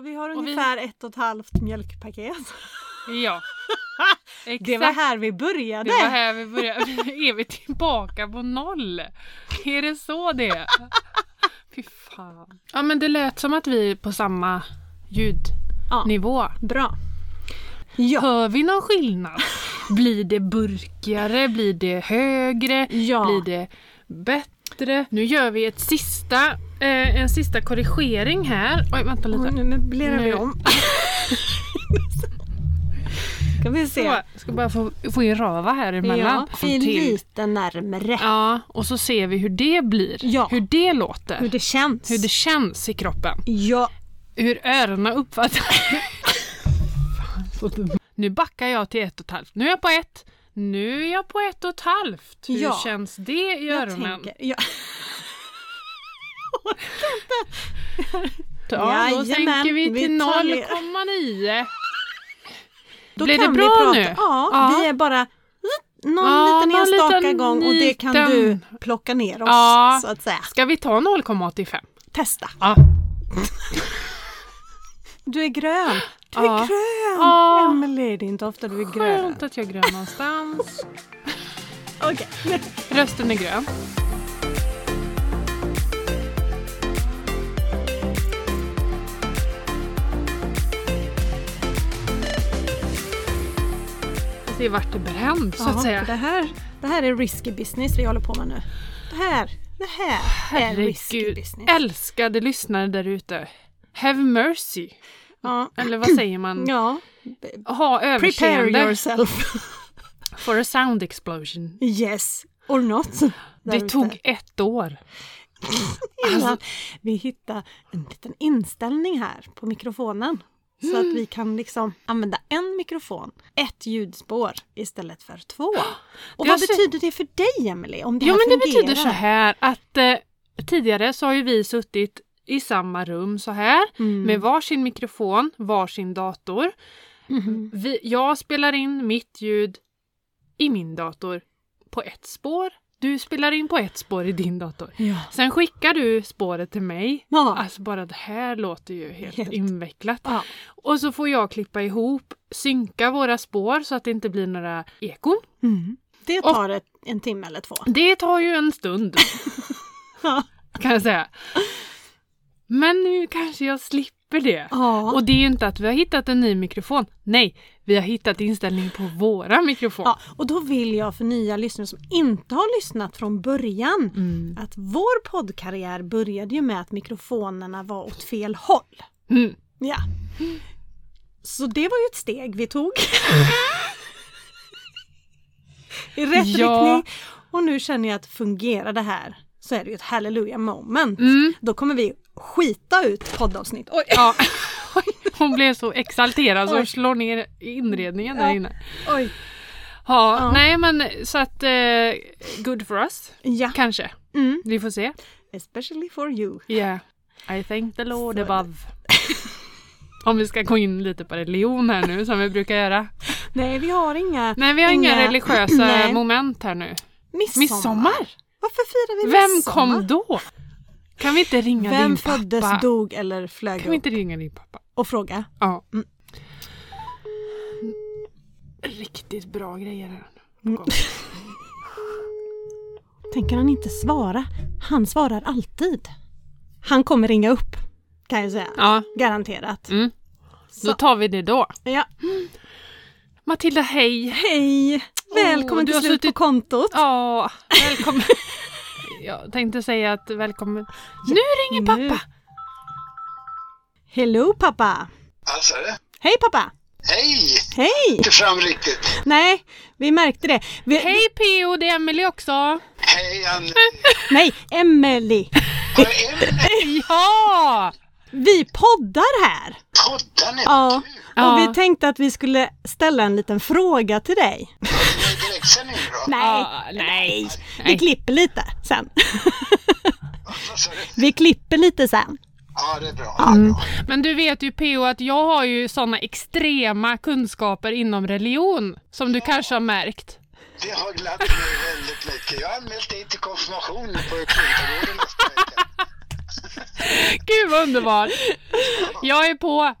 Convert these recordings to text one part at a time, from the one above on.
vi- ungefär ett och ett halvt mjölkpaket. Ja. Exakt. Det var här vi började. Det var här vi började. Är vi tillbaka på noll? Är det så det är? Fy fan. Ja men det lät som att vi är på samma ljudnivå. Bra. Ja. Hör vi någon skillnad? Blir det burkigare? Blir det högre? Ja. Blir det bättre? Nu gör vi ett sista, eh, en sista korrigering här. Oj, vänta Oj, lite. Nu dubblerar vi Nu- om. Ska vi se. Så, ska bara få, få in rava här emellan. Ja, vi är Till. lite närmre. Ja, och så ser vi hur det blir. Ja. Hur det låter. Hur det känns. hur det känns i kroppen. Ja. Hur öronen uppfattar Fan, så dum. Nu backar jag till ett och ett halvt. Nu är jag på ett. Nu är jag på ett och ett halvt. Hur Ja. känns det i Jag öronen? tänker, ja. Ja, då Jajamän, tänker vi vi till tar 0,9. Då Blir det kan bra vi prata. nu? Ja, Ja. vi är bara någon Ja, liten någon enstaka liten gång och det kan liten- du plocka ner oss Ja. så att säga. Ska vi ta 0,85? Testa. Ja. Du är grön. Du Ja. är grön! Ja. Emelie, det är inte ofta du är grön. Skönt att jag är grön någonstans. Okej. Rösten är grön. Det är vart det bränns så att Ja, säga. Det här, det här är risky business vi håller på med nu. Det här, det här är risky Herregud. business. Älskade lyssnare där ute. Have mercy. Ja. Eller vad säger man? ja. Ha Prepare överseende yourself. for a sound explosion. Yes. Or not. Där Det ute. tog alltså- ett år. innan vi hittar en liten inställning här på mikrofonen. Så att vi kan liksom använda en mikrofon, ett ljudspår istället för två. Och vad Det har sett- betyder det för dig Emelie? om det Jo här men det fungerar? betyder så här att eh, tidigare så har ju vi suttit i samma rum så här Mm. med varsin mikrofon, varsin dator. Mhm. Vi, jag spelar in mitt ljud i min dator på ett spår. Du spelar in på ett spår i din dator. Ja. Sen skickar du spåret till mig. Ja. Alltså bara det här låter ju helt, Helt. invecklat. ja. Och så får jag klippa ihop, synka våra spår så att det inte blir några ekon. Mm. Det Och- tar ett, en timme eller två. Det tar ju en stund. Ja. kan jag säga. Men nu kanske jag slipper det. Ja. Och det är ju inte att vi har hittat en ny mikrofon. Nej, vi har hittat inställning på våra mikrofon. Ja, och då vill jag för nya lyssnare som inte har lyssnat från början Mm. att vår poddkarriär började ju med att mikrofonerna var åt fel håll. Mm. Ja. Så det var ju ett steg vi tog. I rätt Ja. riktning. Och nu känner jag att fungerar det här så är det ju ett hallelujah moment. Mm. Då kommer vi skita ut poddavsnitt. Oj, Ja. Hon blev så exalterad så hon Oj. slår ner i inredningen där Ja. inne. oj. Ja, Ja. nej men så att eh, good for us. Ja. Kanske. Mm. Vi får se. Especially for you. Yeah. I thank the Lord Så är det. above. Om vi ska gå in lite på religion här nu som vi brukar göra. Nej, vi har inga Nej vi har inga, Inga- religiösa Nej. moment här nu. midsommar. Midsommar? Varför firar vi Vem midsommar? kom då? Kan vi inte ringa din Vem pappa? föddes, dog eller flög Kan vi upp inte ringa din pappa? och fråga? Ja. Riktigt bra grejer här. nu. Tänker han inte svara? Han svarar alltid. Han kommer ringa upp, kan jag säga. Ja, Garanterat. Mm. då Så. tar vi det då. Ja. Matilda, hej! Hej! Välkommen du till har slut suttit- på kontot. Ja, välkommen. Jag tänkte säga att välkommen. Nu ringer Nu. pappa! Hello pappa! Alltså, Hej pappa! hej! Hej! Inte fram riktigt. Nej, vi märkte det. Vi... Hej PO, det är Emelie också. Hej, Ann. Nej, Emelie. Vad är det med Ja! Vi poddar här! poddarna? Ja. Ja. Och vi tänkte att vi skulle ställa en liten fråga till dig. Det var ju direktsändning då. Nej, Ja, nej. vi klipper lite sen. Vad sa du? vi klipper lite sen. Ja, det är bra. Det är bra. Men du vet ju PO att jag har ju sådana extrema kunskaper inom religion som du kanske har märkt. Det har glatt mig väldigt mycket. Jag har anmält dig till konfirmation på Kyrkogården nästa vecka. Gud vad underbart! Jag är på!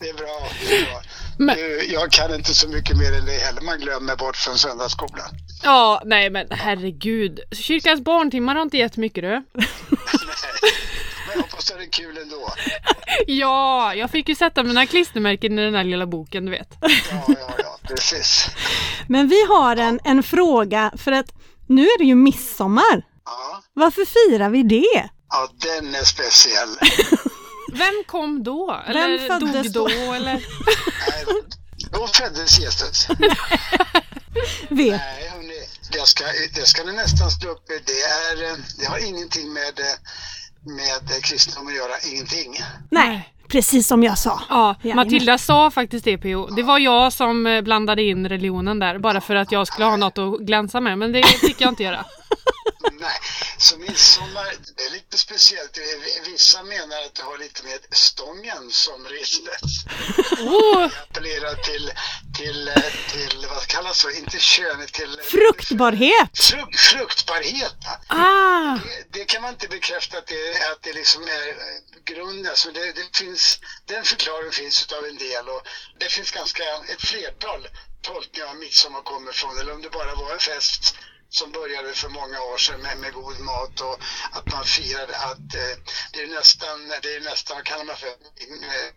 Det är bra. Det är bra. Men- Du, jag kan inte så mycket mer än dig heller. Man glömmer bort från söndagsskolan. Ja, nej men herregud. Kyrkans barntimmar har inte gett mycket du. Nej. Men jag hoppas att det är kul ändå. Ja, jag fick ju sätta mina klistermärken i den här lilla boken, du vet. Ja, ja, ja, precis. Men vi har en, en fråga för att nu är det ju midsommar. Ja, Varför firar vi det? ja den är speciell. Vem kom då? Eller Vem föddes dog då? Eller? Nej, Då föddes Jesus. Vet. Nej, hörni, det ska, det ska ni nästan slå upp. Det, är, eh, det har ingenting med, eh, med eh, kristendom att göra. Ingenting. Nej, precis som jag sa. Ja, Jajamän. Matilda sa faktiskt det PO. Det var jag som eh, blandade in religionen där bara för att jag skulle ha något att glänsa med. Men det fick jag inte göra. Nej, så midsommar, det är lite speciellt. Vissa menar att det har lite med stången som ristet. Oh, Appellerar till, till, eh, till, vad kallas det, inte könet, till... Fruktbarhet! Fruk, fruktbarhet. va? ah, Det, det kan man inte bekräfta att det, att det liksom är eh, grunden. Så det, det finns, den förklaringen finns utav en del och det finns ganska ett flertal tolkningar av midsommar kommer från. Eller om det bara var en fest som började för många år sedan med, med god mat och att man firade att eh, det är nästan, det är nästan, vad kallar man för, eh,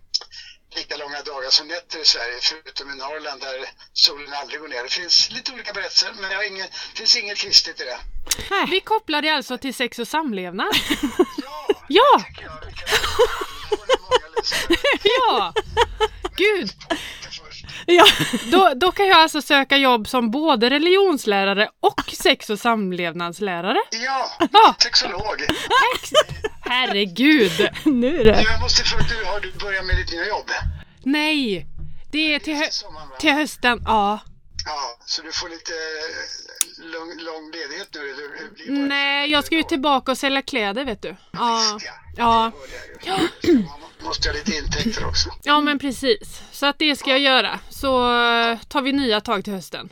lika långa dagar som nätter i Sverige, förutom i Norrland där solen aldrig går ner. Det finns lite olika berättelser, men jag har ingen, det finns inget kristet i det. vi kopplade alltså till sex och samlevnad. Ja! Ja, tycker jag. Vi kan- vi får nog många lyssnare ja. Gud, först. Ja. då, då kan jag alltså söka jobb som både religionslärare och sex och samlevnadslärare. Ja, Ja. sexolog. Herregud! Nu du. Jag måste fråga, du, har du börjat med ditt nya jobb? Nej! Det är till, hö- Sommaren, va? till hösten, ja. Ja, så du får lite eh, lång, lång ledighet nu? Eller hur blir det? Nej, jag ska ju tillbaka och sälja kläder vet du. Ja, ja. Ja. det hörde jag ju. Man måste ha lite intäkter också. ja men precis. Så att det ska jag göra. Så eh, tar vi nya tag till hösten.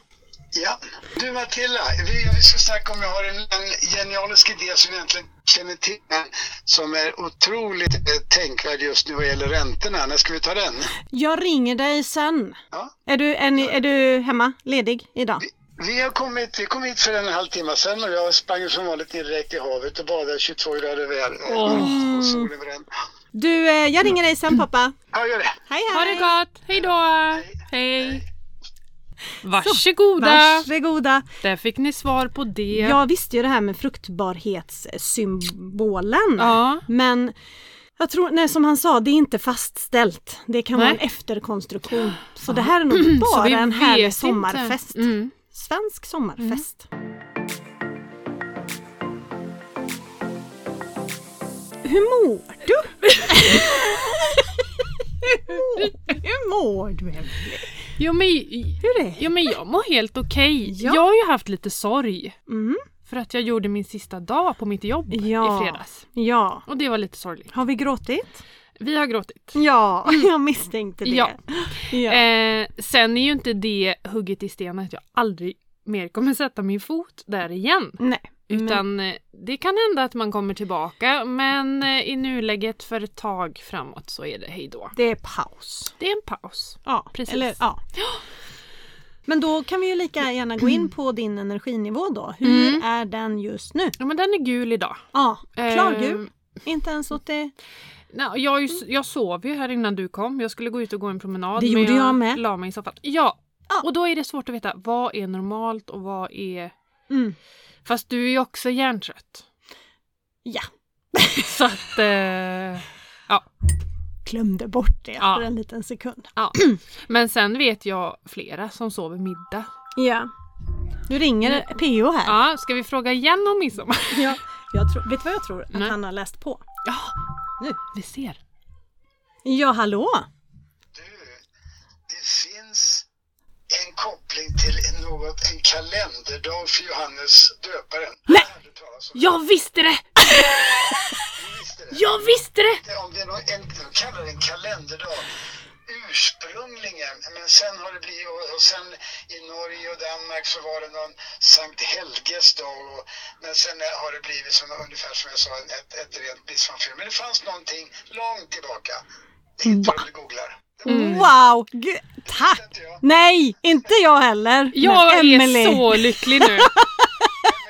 Ja. Du Matilda, vi, vi ska snacka om, jag har en, en genialisk idé som jag egentligen känner till, men som är otroligt eh, tänkvärd just nu vad gäller räntorna. När ska vi ta den? Jag ringer dig sen. Ja. Är du, är, ni, är du hemma, ledig idag? Vi, har kommit, vi kom hit för en halvtimme sedan och jag sprang som vanligt direkt i havet och badade 22 grader väl. Mm. Åh. Och solen brände. Du, eh, jag ringer dig sen pappa. Ja, gör det. Hej Ha det hej! gott! Hej då! Hej! Varsågoda! Varsågoda! Där fick ni svar på det. Jag visste ju det här med fruktbarhetssymbolen. Ja. Men jag tror, nej, som han sa, det är inte fastställt. Det kan vara en Nej. efterkonstruktion. Så det här är nog Så bara vi en vet härlig inte. sommarfest. Mm. Svensk sommarfest. Hur mår du? Hur mår du Emelie? Jo men, Hur är det? jo men jag mår helt okej. Ja. Jag har ju haft lite sorg. Mm. För att jag gjorde min sista dag på mitt jobb Ja. i fredags. Ja. Och det var lite sorgligt. Har vi gråtit? Vi har gråtit. Ja, jag misstänkte det. Mm. Ja. Ja. Eh, sen är ju inte det hugget i sten att jag aldrig mer kommer sätta min fot där igen. Nej. Utan eh, det kan hända att man kommer tillbaka men eh, i nuläget för ett tag framåt så är det hejdå. Det är paus. Det är en paus. Ja, precis. Eller, ja. Men då kan vi ju lika gärna gå in på din energinivå då. Hur Mm. är den just nu? Ja men den är gul idag. Ja, klargul. Ehm. Inte ens åt det. Nej, jag, är ju s- jag sov ju här innan du kom. Jag skulle gå ut och gå en promenad. Mm. Det men gjorde jag med. la mig i soffan. Ja. Ja. Och då är det svårt att veta vad är normalt och vad är... Mm. Fast du är ju också hjärntrött. Ja, Så att... Eh... glömde bort det Ja. för en liten sekund. Ja. Men sen vet jag flera som sover middag. Ja. Nu ringer PO här. Ja, ska vi fråga igen om midsommar? Ja. Jag tror, vet du vad jag tror? Att Nej. han har läst på. Ja, Nu. vi ser. Ja, hallå! Du, det finns en koppling till något, en kalenderdag för Johannes döparen. Nej! Jag visste det! Jag visste det! Om det är någon, en, de kallar det en kalenderdag ursprungligen, men sen har det blivit, och, och sen i Norge och Danmark så var det någon Sankt Helges dag, och, men sen har det blivit som, ungefär som jag sa, ett, ett rent midsommarfirande. Men det fanns någonting långt tillbaka. Det hittar du om du googlar. Mm. Wow! Gud, tack! inte jag. Nej, inte jag heller. Jag men är Emily. så lycklig nu.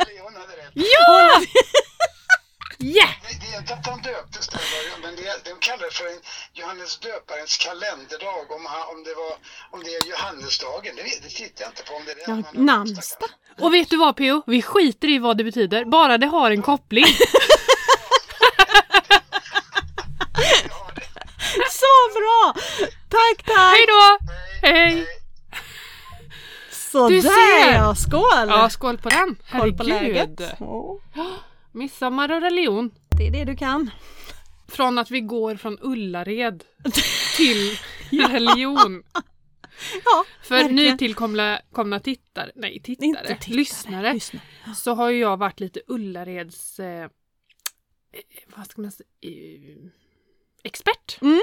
Eller hon hade rätt. Ja! Yeah! Det- Det är inte att de döptes den dagen, men det, de kallar det för en Johannes döparens kalenderdag om, han, om, det, var, om det är Johannesdagen. Det, vet- det tittar jag inte på om det är det. Ja, man har namnsdag. namnsdag. Och vet du vad PO? Vi skiter i vad det betyder, bara det har en koppling. Ja, det- Så bra! Tack, tack! Hej då! nej, Hej. nej. Sådär Du ser. ja, skål! Ja, skål på den! Koll på Herregud! läget. Ja, Midsommar och religion. Det är det du kan. Från att vi går från Ullared till religion. Ja, För verkligen. nytillkomna komna tittare, nej tittare, Inte tittare, lyssnare, så har ju jag varit lite Ullareds, eh, eh, vad ska man säga, eh, expert. Mm.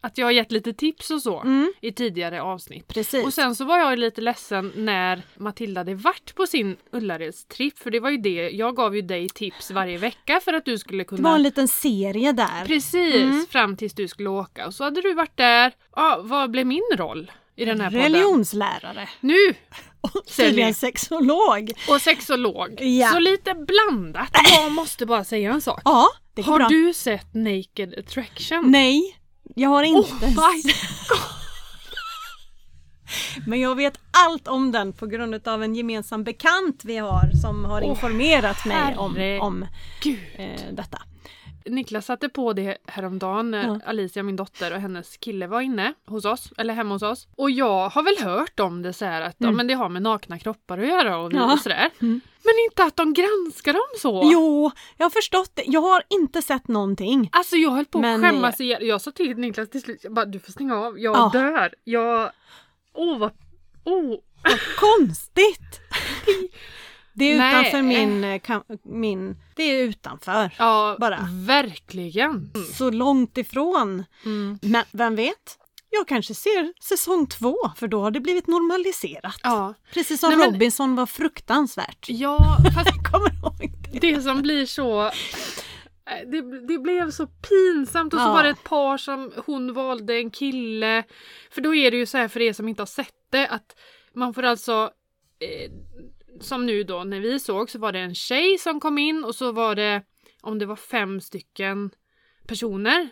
Att jag har gett lite tips och så Mm, i tidigare avsnitt. precis. Och sen så var jag lite ledsen när Matilda hade varit på sin Ullareds-tripp för det var ju det, jag gav ju dig tips varje vecka för att du skulle det var kunna en liten serie där. Precis, Mm. fram tills du skulle åka och så hade du varit där. Ja, vad blev min roll i den här podden? Religionslärare. Nu! Och Sälj. tydligen sexolog. Och sexolog. Ja. Så lite blandat. Jag måste bara säga en sak. Ja, det går Har bra. du sett Naked Attraction? Nej, jag har inte. Oh my Men jag vet allt om den på grund av en gemensam bekant vi har som har Åh, informerat mig om, herregud. om gud! eh, detta. Niklas satte på det häromdagen när Ja. Alicia, min dotter, och hennes kille var inne hos oss, eller hemma hos oss. Och jag har väl hört om det så här att ja, men det har med nakna kroppar att göra och, Mm. Ja. Mm. och sådär. Men inte att de granskar dem så! Jo, jag har förstått det. Jag har inte sett någonting. Alltså jag höll på Men att det- skämmas ihjäl. Jag sa till Niklas till slut, jag bara, du får stänga av, jag Ja. dör. Jag... Åh vad... Åh! Konstigt! Det är Nej. utanför min, eh, kam- min... Det är utanför. Ja, Bara. Mm. verkligen. Så långt ifrån. Mm. Men vem vet? Jag kanske ser säsong två för då har det blivit normaliserat. Ja. Precis som Nej, men- Robinson var fruktansvärt. ja, fast Kommer du ihåg det? det som blir så... Det, det blev så pinsamt och så Ja. var det ett par som hon valde en kille. För då är det ju så här för er som inte har sett det att man får alltså eh, som nu då när vi såg så var det en tjej som kom in och så var det om det var fem stycken personer.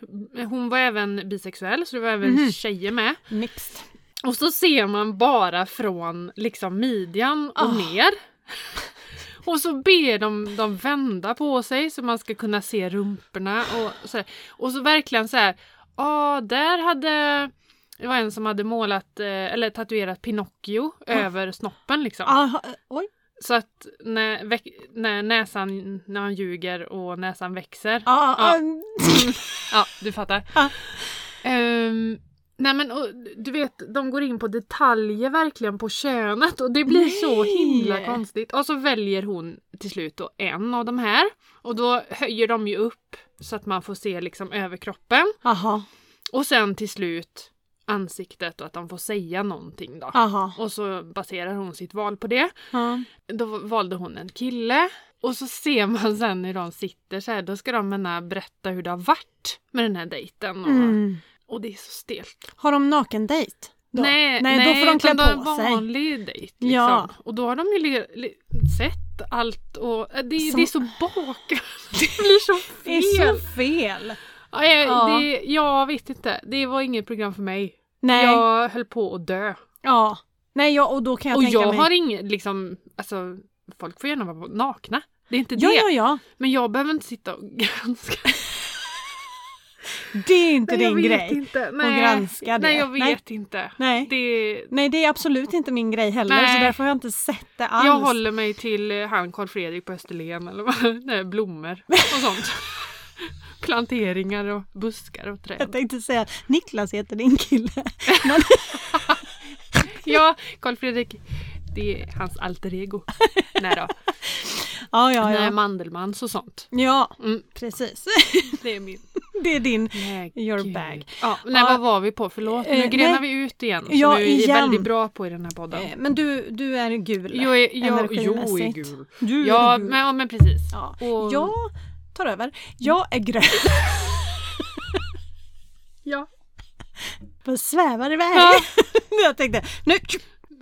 Hon var även bisexuell så det var även Mhm. tjejer med. Mixed. Och så ser man bara från liksom midjan och Ah. ner. Och så ber de dem vända på sig så man ska kunna se rumporna och sådär. Och så verkligen så här, ja där hade, det var en som hade målat eh, eller tatuerat Pinocchio över snoppen liksom. Ah, oj. Så att när, väck- när näsan, när han ljuger och näsan växer. Ah, Ja. ah. Ja, du fattar. Ja. Ehm, nej men och, du vet, de går in på detaljer verkligen på könet och det blir så Nej. himla konstigt. Och så väljer hon till slut då en av de här och då höjer de ju upp så att man får se liksom överkroppen Aha, och sen till slut ansiktet och att de får säga någonting då. aha. Och så baserar hon sitt val på det. Ja. Då valde hon en kille och så ser man sen hur de sitter så här. Då ska de ena berätta hur det har varit med den här dejten. Och, Mm. och det är så stelt. Har de naken dejt? då? Nej, nej, då får de klä utan det är på en sig. vanlig dejt. Liksom. Ja. Och då har de ju le- le- sett allt och äh, det, Som- det är så bakvänt. Det blir så Det är fel. så fel. Ja, jag, Ja. Det, jag vet inte. Det var inget program för mig. Nej, ja. Jag höll på att dö. Nej, jag, och då kan jag och tänka jag mig... har inget, liksom, alltså folk får gärna vara nakna. Det är inte Ja, det. ja, ja. Men jag behöver inte sitta och granska. Det är inte jag din vet grej. Inte. Nej. granska det. Nej, jag vet Nej. inte. Nej. Det, Nej, det är absolut inte min grej heller Nej. så därför har jag inte sett det alls. jag håller mig till eh, han Carl Fredrik på Österlen eller vad, nej, blommor och sånt. Planteringar och buskar och Jag träd. tänkte säga Niklas heter din kille. Ja, Carl Fredrik, det är hans alter ego. Nej då. Ja, ja, Nej, ja. Mandelmans och sånt. Ja, Mm. precis. Det är min. Det är din. Nej, Your gud. bag. Ja, nej, Ja. vad var vi på? Förlåt, nu Eh, nej. grenar vi ut igen. Som Ja, du är igen. väldigt bra på i den här podden. eh, Eh, Men du, du är gul Jag är, jag, jag är energimässigt. gul. Du är Ja, gul. men, ja, men precis. Ja. Och- Jag tar över. Jag är grön. Ja. Bara svävar iväg. Ja. jag tänkte, nu,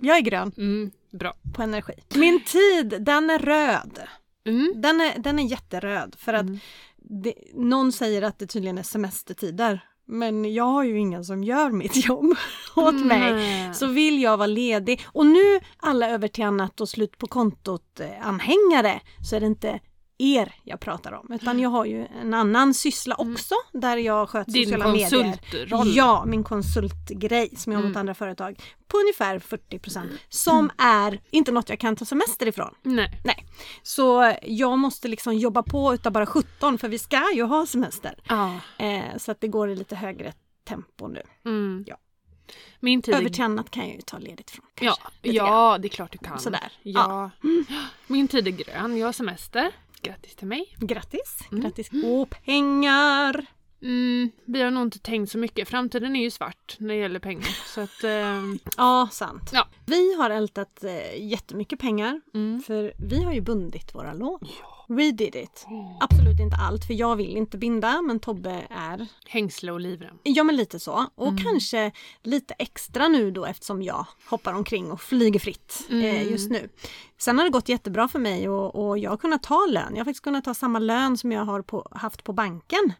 jag är grön Mm, bra. på energi. Min tid, den är röd. Mm. Den är, den är jätteröd för att det, någon säger att det tydligen är semestertider. Men jag har ju ingen som gör mitt jobb åt mig. Mm. Så vill jag vara ledig. Och nu alla över till annat och slut på kontot eh, anhängare så är det inte er jag pratar om. Utan jag har ju en annan syssla också där jag sköter Mm. Din sociala medier. konsultroll. Mm. Ja, min konsultgrej som jag har mot andra företag på ungefär 40% som är inte något jag kan ta semester ifrån. Nej. Nej, så jag måste liksom jobba på utav bara 17 för vi ska ju ha semester. Ja. Eh, så att det går i lite högre tempo nu. Mm. Ja. Min tid Över är... till annat kan jag ju ta ledigt från Ja, kanske. lite grann. ja, det är klart du kan. Sådär. Ja. Min tid är grön, jag har semester. Grattis till mig. Grattis! Grattis! Och pengar! Mm, vi har nog inte tänkt så mycket. Framtiden är ju svart när det gäller pengar. Så att, ehm, Ja, sant. Ja. Vi har ältat eh, jättemycket pengar Mm. för vi har ju bundit våra lån. We did it! Absolut inte allt för jag vill inte binda men Tobbe är hängsle och livrem. Ja men lite så. Och Mm. kanske lite extra nu då eftersom jag hoppar omkring och flyger fritt Mm. eh, just nu. Sen har det gått jättebra för mig och, och jag har kunnat ta lön. Jag har faktiskt kunnat ta samma lön som jag har på, haft på banken.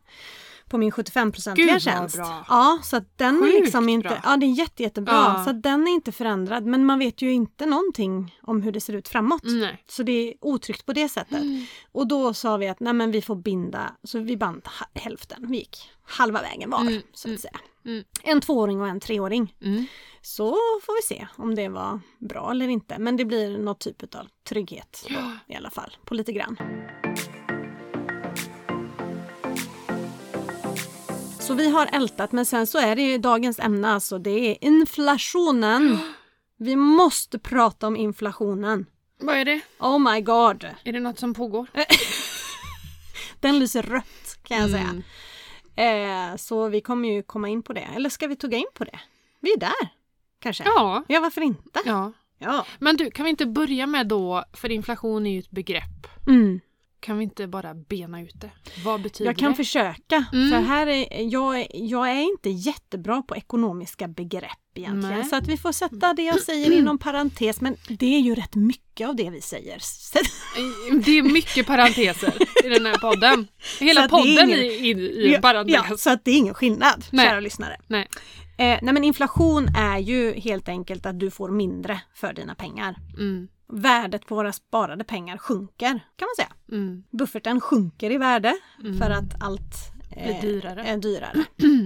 På min 75-procentiga Gud, vad tjänst. bra. Ja, så att den är Sjukt liksom inte... bra. Ja, det är jätte, jättebra. Ja. Så att den är inte förändrad. Men man vet ju inte någonting om hur det ser ut framåt. Mm, Nej. Mm. Så det är otryggt på det sättet. Och då sa vi att nej men vi får binda, så vi band ha- hälften. Vi gick halva vägen var så att säga. Mm. En tvååring och en treåring. Mm. Så får vi se om det var bra eller inte. Men det blir något typ av trygghet då, i alla fall, på lite grann. Så vi har ältat, men sen så är det ju dagens ämne alltså, det är inflationen. Vi måste prata om inflationen. Vad är det? Oh my god! Är det något som pågår? Den lyser rött kan jag Mm. säga. Eh, så vi kommer ju komma in på det. Eller ska vi tugga in på det? Vi är där kanske. Ja. ja varför inte? ja. Ja. Men du, kan vi inte börja med då, för inflation är ju ett begrepp. Mm. Kan vi inte bara bena ut det? Vad betyder Jag kan det? försöka. Mm. För här är, jag, är- jag är inte jättebra på ekonomiska begrepp egentligen. Nej. Så att vi får sätta det jag säger inom parentes. Men det är ju rätt mycket av det vi säger. Så, Det är mycket parenteser i den här podden. Hela Så att det är ingen- podden i, i, i en parentes. ja, så att det är ingen skillnad, Nej. kära lyssnare. Nej. Eh, nej men inflation är ju helt enkelt att du får mindre för dina pengar. Mm. Värdet på våra sparade pengar sjunker kan man säga. Mm. Bufferten sjunker i värde för att allt eh, Blir dyrare. är dyrare.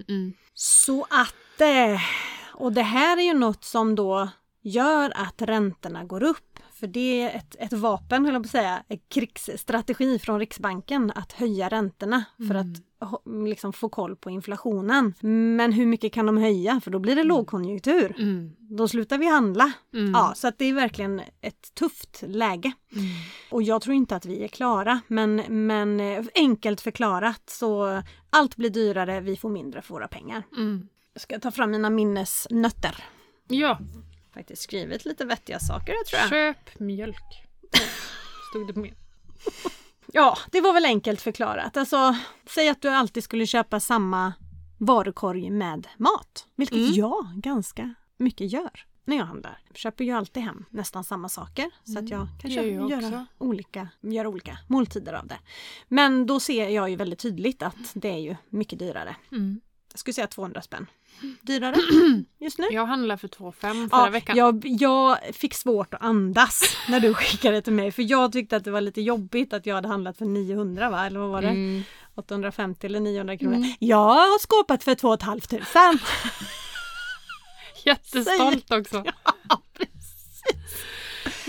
mm. Så att, eh, och det här är ju något som då gör att räntorna går upp. För det är ett, ett vapen, höll jag på att säga, en krigsstrategi från Riksbanken att höja räntorna för Mm. att ho- liksom få koll på inflationen. Men hur mycket kan de höja? För då blir det lågkonjunktur. Mm. Då slutar vi handla. Mm. Ja, så att det är verkligen ett tufft läge. Och jag tror inte att vi är klara, men, men eh, enkelt förklarat så allt blir dyrare, vi får mindre för våra pengar. Mm. Jag ska ta fram mina minnesnötter. Ja, Faktiskt skrivit lite vettiga saker jag tror jag. köp mjölk. Stod det på min. Ja, det var väl enkelt förklarat. Alltså, säg att du alltid skulle köpa samma varukorg med mat. Vilket Mm. jag ganska mycket gör när jag handlar. Jag köper ju alltid hem nästan samma saker. Så att jag kan Mm. det gör köpa, jag också. göra, olika, göra olika måltider av det. Men då ser jag ju väldigt tydligt att det är ju mycket dyrare. Mm. Jag skulle säga 200 spänn. Dyrare just nu. Jag handlade för 2,5 förra veckan. Jag, jag fick svårt att andas när du skickade till mig för jag tyckte att det var lite jobbigt att jag hade handlat för 900 va? Eller vad var det? Mm. 850 eller 900 kronor. Jag har skåpat för 2 500. Jättestolt också.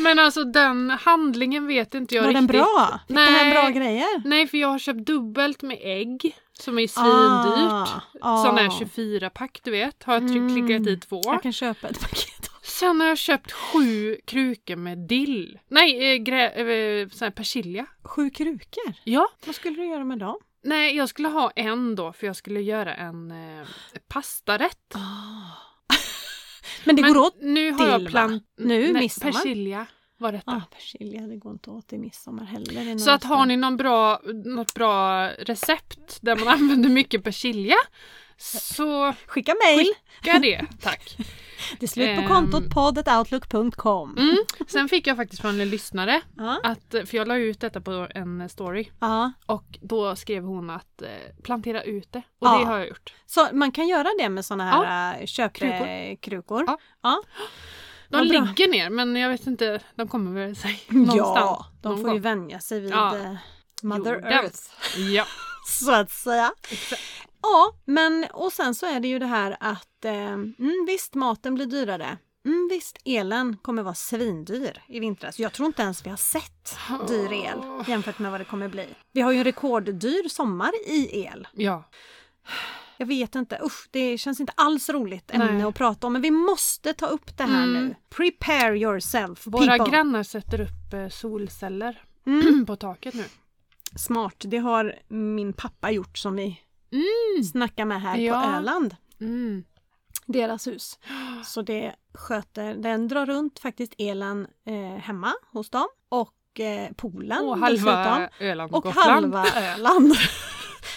Men alltså den handlingen vet inte jag Var den riktigt. bra? Fick den här Nej. bra grejer? Nej, för jag har köpt dubbelt med ägg som är svindyrt. Ah, Sån här ah. Mm. 24-pack du vet, har jag tryckt, klickat i två. Jag kan köpa ett paket. Sen har jag köpt sju krukor med dill. Nej, eh, grä, eh, sån här persilja. Sju krukor? Ja. Vad skulle du göra med dem? Nej, jag skulle ha en då för jag skulle göra en eh, pastarätt. Men det Men går åt nu har dill, jag va? plant... Nu, Nej, midsommar? Persilja. var detta. Ah, persilja, det går inte åt i midsommar heller. i Så att någon har ni någon bra, något bra recept där man använder mycket persilja så stad. Skicka mejl! skicka det, tack. Det är slut Ehm. på kontot poddetoutlook.com. Mm. Sen fick jag faktiskt från en lyssnare, Ja. att, för jag la ut detta på en story Ja. och då skrev hon att eh, plantera ut det och Ja. det har jag gjort. Så man kan göra det med såna här ja. köpkrukor. Ja. De Vad bra. ligger ner men jag vet inte, de kommer väl sig någonstans. Ja, de någon får ju gång. vänja sig vid Ja. eh, Mother Jorden. Earth. Ja. så att säga. Ja, men och sen så är det ju det här att eh, mm, visst, maten blir dyrare. Mm, visst, elen kommer vara svindyr i vintras. Jag tror inte ens vi har sett dyr el jämfört med vad det kommer bli. Vi har ju en rekorddyr sommar i el. ja. Jag vet inte, usch, det känns inte alls roligt Nej. ämne att prata om, men vi måste ta upp det här Mm. nu. Prepare yourself, Våra people. grannar sätter upp eh, solceller Mm. på taket nu. Smart, det har min pappa gjort som vi Mm. snackar med här på Ja. Öland. Mm. deras hus. Så det sköter, den drar runt faktiskt elen eh, hemma hos dem och eh, poolen Och dessutom. halva Öland och, Och Gotland. halva Öland.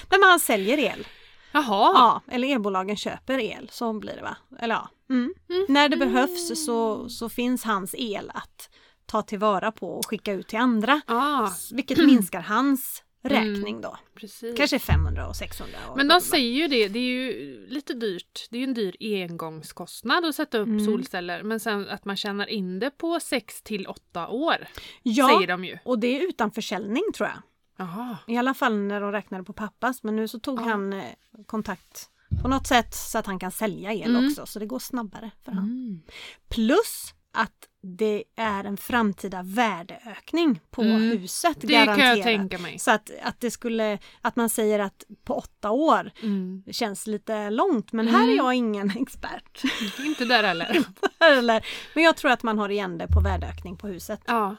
Nej men han säljer el. Jaha. Ja, eller elbolagen köper el. Så blir det va? Eller ja. Mm. När det behövs så, så finns hans el att ta tillvara på och skicka ut till andra. Ah, Vilket minskar hans Mm. räkning då. precis. Kanske 500 och 600. Och Men de säger ju det, det är ju lite dyrt. Det är ju en dyr engångskostnad att sätta upp Mm. solceller. Men sen att man tjänar in det på 6 till 8 år, ja, säger de ju. och det är utan försäljning tror jag. Jaha. I alla fall när de räknade på pappas men nu så tog Ja. han eh, kontakt på något sätt så att han kan sälja el Mm. också så det går snabbare för honom. Plus att det är en framtida värdeökning på Mm. huset Det garanterat. kan jag tänka mig. Så att, att det skulle, att man säger att på åtta år Mm. det känns lite långt men här är Mm. jag ingen expert. Inte där heller. Eller, men jag tror att man har igen det på värdeökning på huset ja.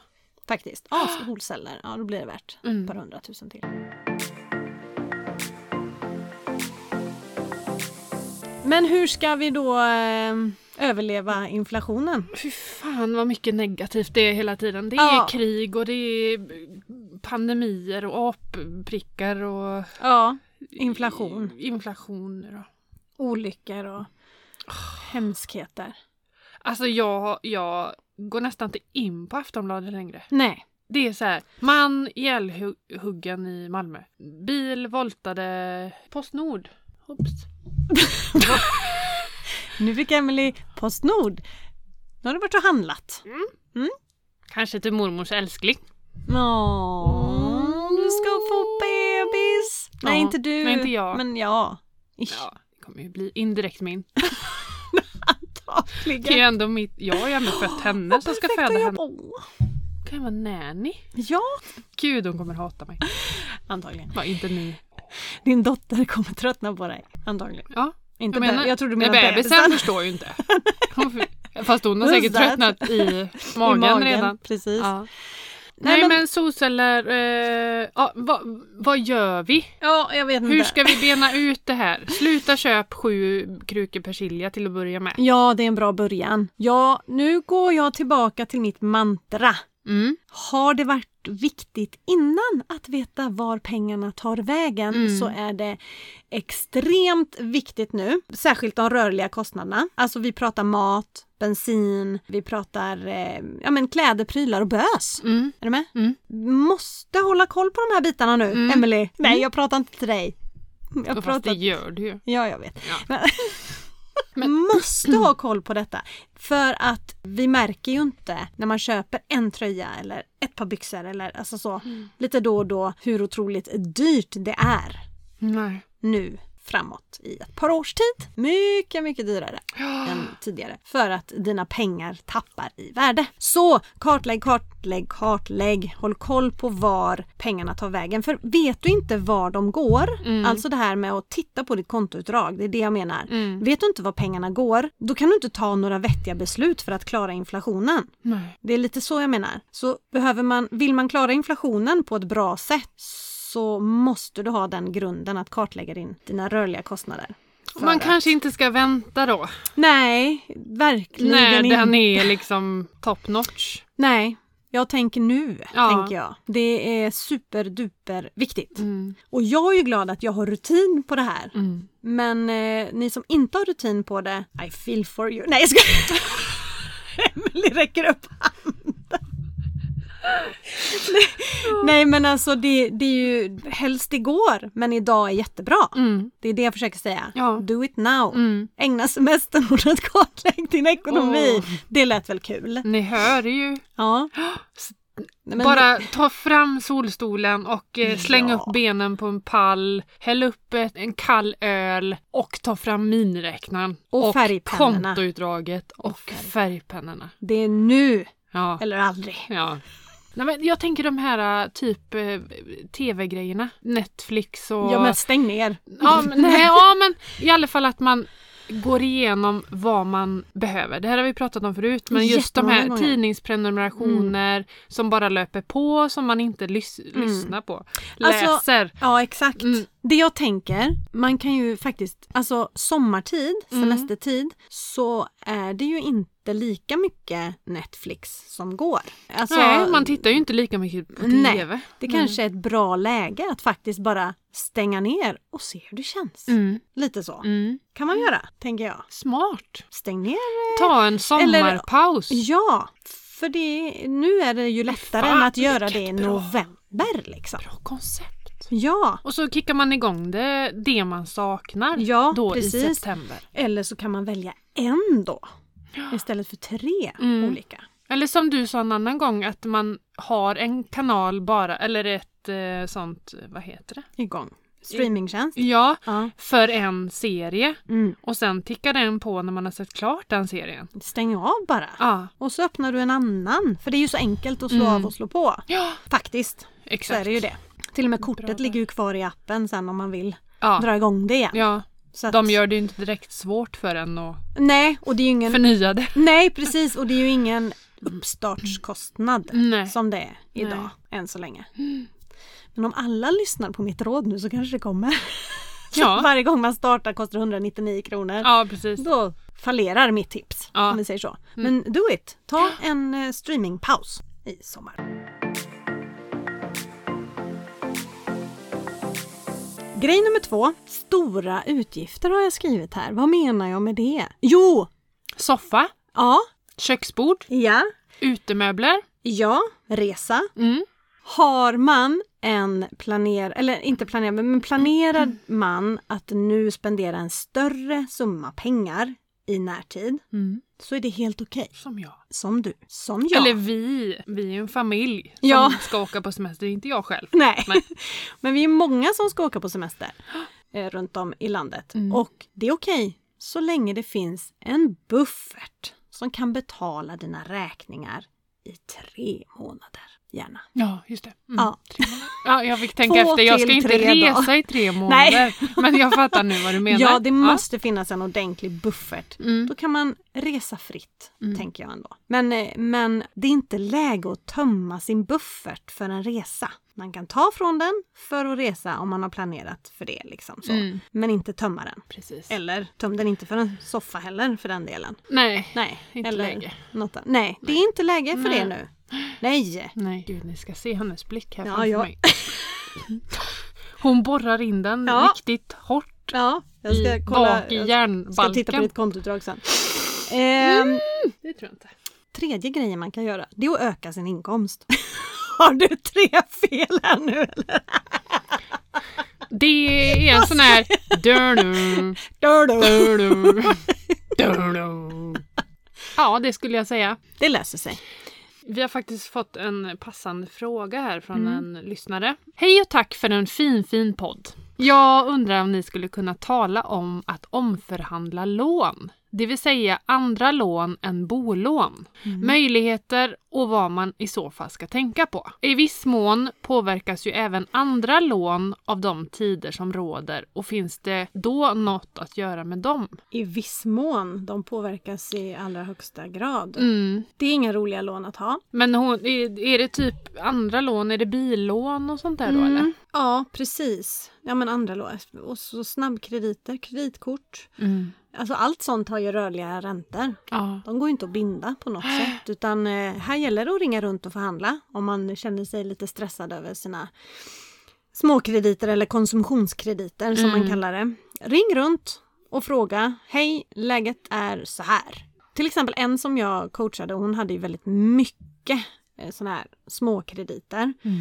faktiskt. Ja, solceller, ja då blir det värt Mm. ett par hundratusen till. Men hur ska vi då eh, överleva inflationen? Fy fan vad mycket negativt det är hela tiden. Det är Ja. krig och det är pandemier och apprickar och Ja, inflation, inflationer. Och... olyckor och hemskheter. Alltså jag, jag går nästan inte in på Aftonbladet längre. Nej. Det är så här, man ihjälhuggen i Malmö. Bil voltade Postnord. Oops. Nu fick Emily Postnord. Nu har du varit och handlat. Kanske till mormors älskling. Åh, du ska få bebis! Nej, Ja, inte du. nej, inte jag. Men ja. Ish, Ja, det kommer ju bli indirekt min. Det är ju Antagligen. ändå mitt, jag har ju ändå fött henne som ska Perfekt att föda henne. jobba- Åh. Kan jag vara nanny? Ja, Gud, hon kommer hata mig. antagligen. Var inte ni. Din dotter kommer tröttna på dig. Antagligen. Ja, Inte jag jag, menar. jag tror du men menar bebisen bebisen. förstår ju inte. Hon- Fast hon har Who's säkert that? tröttnat i I magen, redan. Precis. Ja. Nej, Nej, men, men- solceller, eh, ja, vad, vad gör vi? Ja, jag vet inte. Hur ska vi bena ut det här? Sluta köp sju krukor persilja till att börja med. Ja, det är en bra början. Ja, nu går jag tillbaka till mitt mantra. Mm. Har det varit viktigt innan att veta var pengarna tar vägen Mm. så är det extremt viktigt nu. Särskilt de rörliga kostnaderna. Alltså vi pratar mat, bensin, vi pratar eh, ja, men kläder, prylar och bös. Mm. Är du med? Mm. Måste hålla koll på de här bitarna nu, Mm. Emily. Nej, jag pratar inte till dig. Jag Och Fast det pratar... gör du ju. Ja, jag vet. Ja. Men... Måste ha koll på detta. För att vi märker ju inte när man köper en tröja eller ett par byxor eller alltså så lite då och då hur otroligt dyrt det är Nej. nu framåt i ett par års tid. Mycket, mycket dyrare än tidigare. För att dina pengar tappar i värde. Så kartlägg, kartlägg, kartlägg. Håll koll på var pengarna tar vägen. För vet du inte var de går, alltså det här med att titta på ditt kontoutdrag, det är det jag menar. Mm. Vet du inte var pengarna går, då kan du inte ta några vettiga beslut för att klara inflationen. Nej. Det är lite så jag menar. Så behöver man, vill man klara inflationen på ett bra sätt så måste du ha den grunden att kartlägga din, dina rörliga kostnader. För Man att- kanske inte ska vänta då. Nej, verkligen När inte. den är liksom top notch. Nej, Jag tänker nu, Ja. tänker jag. Det är superduper viktigt. Mm. Och jag är ju glad att jag har rutin på det här. Mm. Men eh, ni som inte har rutin på det, I feel for you. Nej jag ska... Emily räcker upp handen. Nej, Nej men alltså det, det är ju helst igår men idag är jättebra. Mm. Det är det jag försöker säga. Ja. Do it now. Mm. Ägna semestern åt att kartlägga din ekonomi. Åh. Det lät väl kul? Ni hör ju. Ja. Nej, men- Bara ta fram solstolen och eh, släng Ja. upp benen på en pall. Häll upp ett, en kall öl och ta fram miniräknaren. Och färgpennorna. kontoutdraget och, färgpennorna. Det är nu Ja. eller aldrig. ja. Nej, men jag tänker de här eh, typ eh, tv-grejerna. Netflix och... Ja men stäng ner. Ja, men, nej, ja, men i alla fall att man går igenom vad man behöver. Det här har vi pratat om förut, men just de här Jättemånga gånger. Mm. tidningsprenumerationer som bara löper på, som man inte lys- lyssnar på. Alltså- Läser. Ja exakt. Mm. Det jag tänker, man kan ju faktiskt, alltså sommartid, Mm. semestertid, så är det ju inte lika mycket Netflix som går. Alltså, nej, man Mm. tittar ju inte lika mycket på Nej, TV. Det kanske är ett bra läge att faktiskt bara stänga ner och se hur det känns. Mm. Lite så Mm. kan man göra, tänker jag. Smart. Stäng ner. eh, Ta en sommarpaus. Ja, för det, nu är det ju lättare Fan, än att göra det vilket i bra. november liksom. Bra koncept. Ja, Och så kickar man igång det, det man saknar Ja, då i precis. september. eller så kan man välja en då istället för tre Mm. olika. Eller som du sa en annan gång att man har en kanal bara, eller ett eh, sånt, vad heter det? igång. Streamingtjänst. Ja, Ja. för en serie Mm. och sen tickar den på när man har sett klart den serien. Stäng av bara. Ja, Och så öppnar du en annan. För det är ju så enkelt att slå Mm. av och slå på. ja Faktiskt. Så exakt. är det ju det. Till och med Bra kortet där. ligger ju kvar i appen sen om man vill Ja, dra igång det igen. ja. Så att- De gör det ju inte direkt svårt för en att Nej, och det är ju ingen... förnya det. Nej, precis. Och det är ju ingen uppstartskostnad Nej. som det är idag än så länge. Men om alla lyssnar på mitt råd nu så kanske det kommer. Ja. Varje gång man startar kostar det 199 kronor. Ja, precis. Då fallerar mitt tips Ja. Mm. om vi säger så. Men do it! Ta en eh, streamingpaus i sommar. Grej nummer två. Stora utgifter har jag skrivit här. Vad menar jag med det? Jo! Soffa, Ja. köksbord, Ja. utemöbler. Ja. Resa. Mm. Har man en planerad, eller inte planerad, men planerad man att nu spendera en större summa pengar i närtid Mm. så är det helt okej. Som jag. Som du. Som jag. Eller vi, vi är ju en familj som Ja. ska åka på semester, inte jag själv. Nej. Nej. Men vi är många som ska åka på semester eh, runt om i landet. Mm. Och det är okej så länge det finns en buffert som kan betala dina räkningar i tre månader. Gärna. Ja, just det. Mm. Ja. Ja, jag fick tänka Två efter. Jag ska till inte tre resa dagar. i tre månader. Men jag fattar nu vad du menar. Ja, det måste finnas en ordentlig buffert. Mm. Då kan man resa fritt, tänker jag ändå. Men, eh, men det är inte läge att tömma sin buffert för en resa. Man kan ta från den för att resa om man har planerat för det. Liksom, så. Mm. Men inte tömma den. Precis. Eller töm den inte för en soffa heller för den delen. Nej. Nej, Inte eller läge. Något, annat. nej, det är inte läge för det nu. Nej! Nej. Gud, ni ska se hennes blick här Ja, framför ja. mig. Hon borrar in den Ja. riktigt hårt Ja, jag ska i, kolla. bak i jag hjärnbalken. ska titta på ditt kontoutdrag sen. Mm. Ehm, Det tror jag inte. Tredje grejen man kan göra, det är att öka sin inkomst. Har du tre fel här nu eller? Det är en sån här... Dörru, Dör du? dörru, dörru. Ja, det skulle jag säga. Det löser sig. Vi har faktiskt fått en passande fråga här från en lyssnare. Hej och tack för en fin, fin podd. Jag undrar om ni skulle kunna tala om att omförhandla lån, det vill säga andra lån än bolån. Möjligheter och vad man i så fall ska tänka på. I viss mån påverkas ju även andra lån av de tider som råder och finns det då något att göra med dem? I viss mån, de påverkas i allra högsta grad. Mm. Det är inga roliga lån att ha. Men hon, är, är det typ andra lån? Är det billån och sånt där då eller? Ja, precis. Ja, men andra lån. Och så snabbkrediter, kreditkort. Alltså allt sånt har ju rörliga räntor. Ja. De går ju inte att binda på något sätt utan eh, här gäller det att ringa runt och förhandla om man känner sig lite stressad över sina småkrediter eller konsumtionskrediter som man kallar det. Ring runt och fråga, hej läget är så här. Till exempel en som jag coachade, hon hade ju väldigt mycket eh, sådana här småkrediter Mm.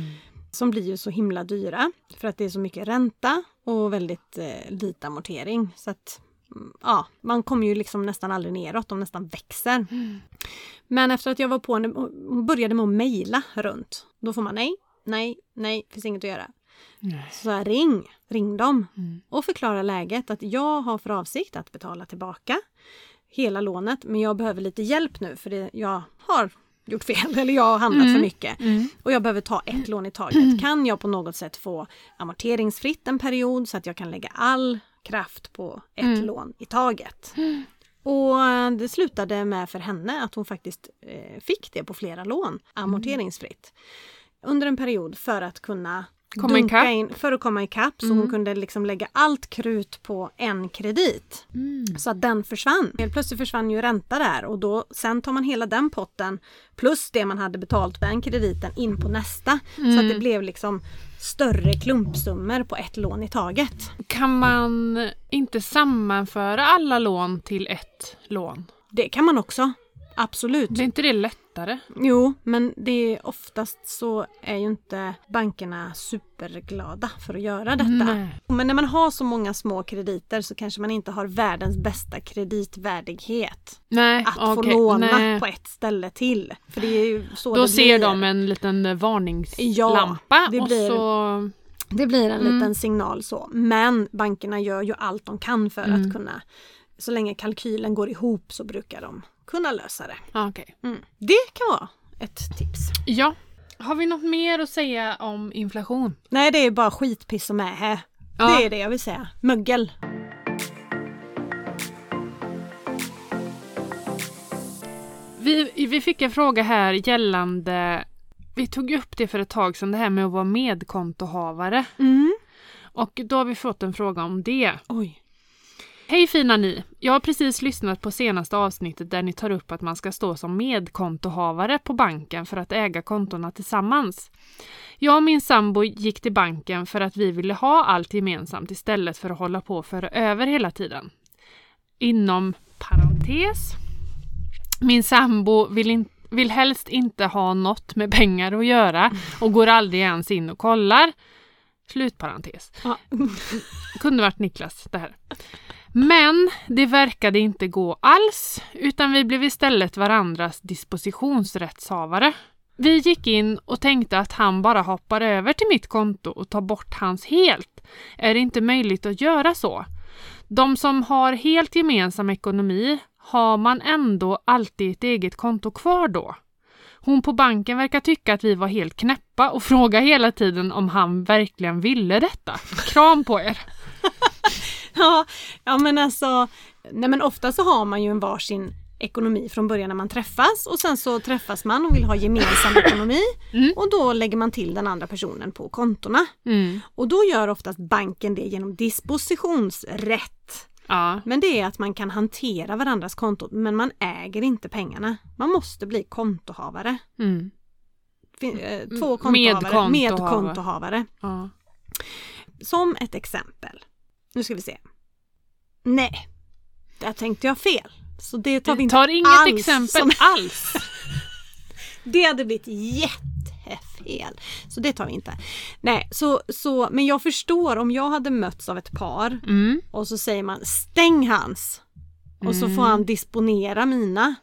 som blir ju så himla dyra för att det är så mycket ränta och väldigt eh, lite amortering. Så att mm, ja, man kommer ju liksom nästan aldrig neråt, de nästan växer. Mm. Men efter att jag var på henne och hon började med att mejla runt, då får man nej, nej, nej, finns inget att göra. Nej. Så jag, ring, ring dem Mm. och förklara läget att jag har för avsikt att betala tillbaka hela lånet men jag behöver lite hjälp nu för det, jag har gjort fel eller jag har handlat för mycket. Och jag behöver ta ett lån i taget. Kan jag på något sätt få amorteringsfritt en period så att jag kan lägga all kraft på ett lån i taget? Och eh, det slutade med för henne att hon faktiskt eh, fick det på flera lån amorteringsfritt. Under en period för att kunna Komma dunka ikapp. in, för att komma ikapp så hon kunde liksom lägga allt krut på en kredit. Så att den försvann. Helt plötsligt försvann ju ränta där och då sen tar man hela den potten plus det man hade betalt för den krediten in på nästa. Så att det blev liksom större klumpsummor på ett lån i taget. Kan man inte sammanföra alla lån till ett lån? Det kan man också. Absolut. Blir inte det lättare? Jo, men det är oftast så är ju inte bankerna superglada för att göra detta. Nej. Men när man har så många små krediter så kanske man inte har världens bästa kreditvärdighet. Nej, Att få okej, låna nej. på ett ställe till. För det är ju så Då det ser blir. de en liten eh, varningslampa Ja, det och blir- så... Det blir en Mm. liten signal så. Men bankerna gör ju allt de kan för Mm. att kunna, så länge kalkylen går ihop så brukar de kunna lösa det. Ja, okej. Mm. Det kan vara ett tips. Ja. Har vi något mer att säga om inflation? Nej, det är bara skitpiss som är här. Ja. Det är det jag vill säga. Mögel. Vi, vi fick en fråga här gällande... Vi tog ju upp det för ett tag sedan, det här med att vara medkontohavare. Mm. Och då har vi fått en fråga om det. Oj. Hej fina ni! Jag har precis lyssnat på senaste avsnittet där ni tar upp att man ska stå som medkontohavare på banken för att äga kontona tillsammans. Jag och min sambo gick till banken för att vi ville ha allt gemensamt istället för att hålla på och föra över hela tiden. Inom parentes. Min sambo vill, in, vill helst inte ha något med pengar att göra och går aldrig ens in och kollar. Slutparentes Ja. kunde varit Niklas det här. Men det verkade inte gå alls, utan vi blev istället varandras dispositionsrättshavare. Vi gick in och tänkte att han bara hoppar över till mitt konto och tar bort hans helt. Är det inte möjligt att göra så? De som har helt gemensam ekonomi, har man ändå alltid ett eget konto kvar då? Hon på banken verkar tycka att vi var helt knäppa och frågar hela tiden om han verkligen ville detta. Kram på er! Ja, ja men alltså, nej men ofta så har man ju en varsin ekonomi från början när man träffas och sen så träffas man och vill ha gemensam ekonomi och då lägger man till den andra personen på kontona. Mm. Och då gör oftast banken det genom dispositionsrätt. Ja. Men det är att man kan hantera varandras konton men man äger inte pengarna. Man måste bli kontohavare. Mm. Fin- eh, Två kontohavare, Medkontohavare. medkontohavare. ja. Som ett exempel. Nu ska vi se. Nej, där tänkte jag fel. Så det tar vi Vi inte tar inget alls exempel som- alls. Det hade blivit jättefel. Så det tar vi inte. Nej, så, så, men jag förstår om jag hade mötts av ett par Mm. och så säger man stäng hans och så får han disponera mina.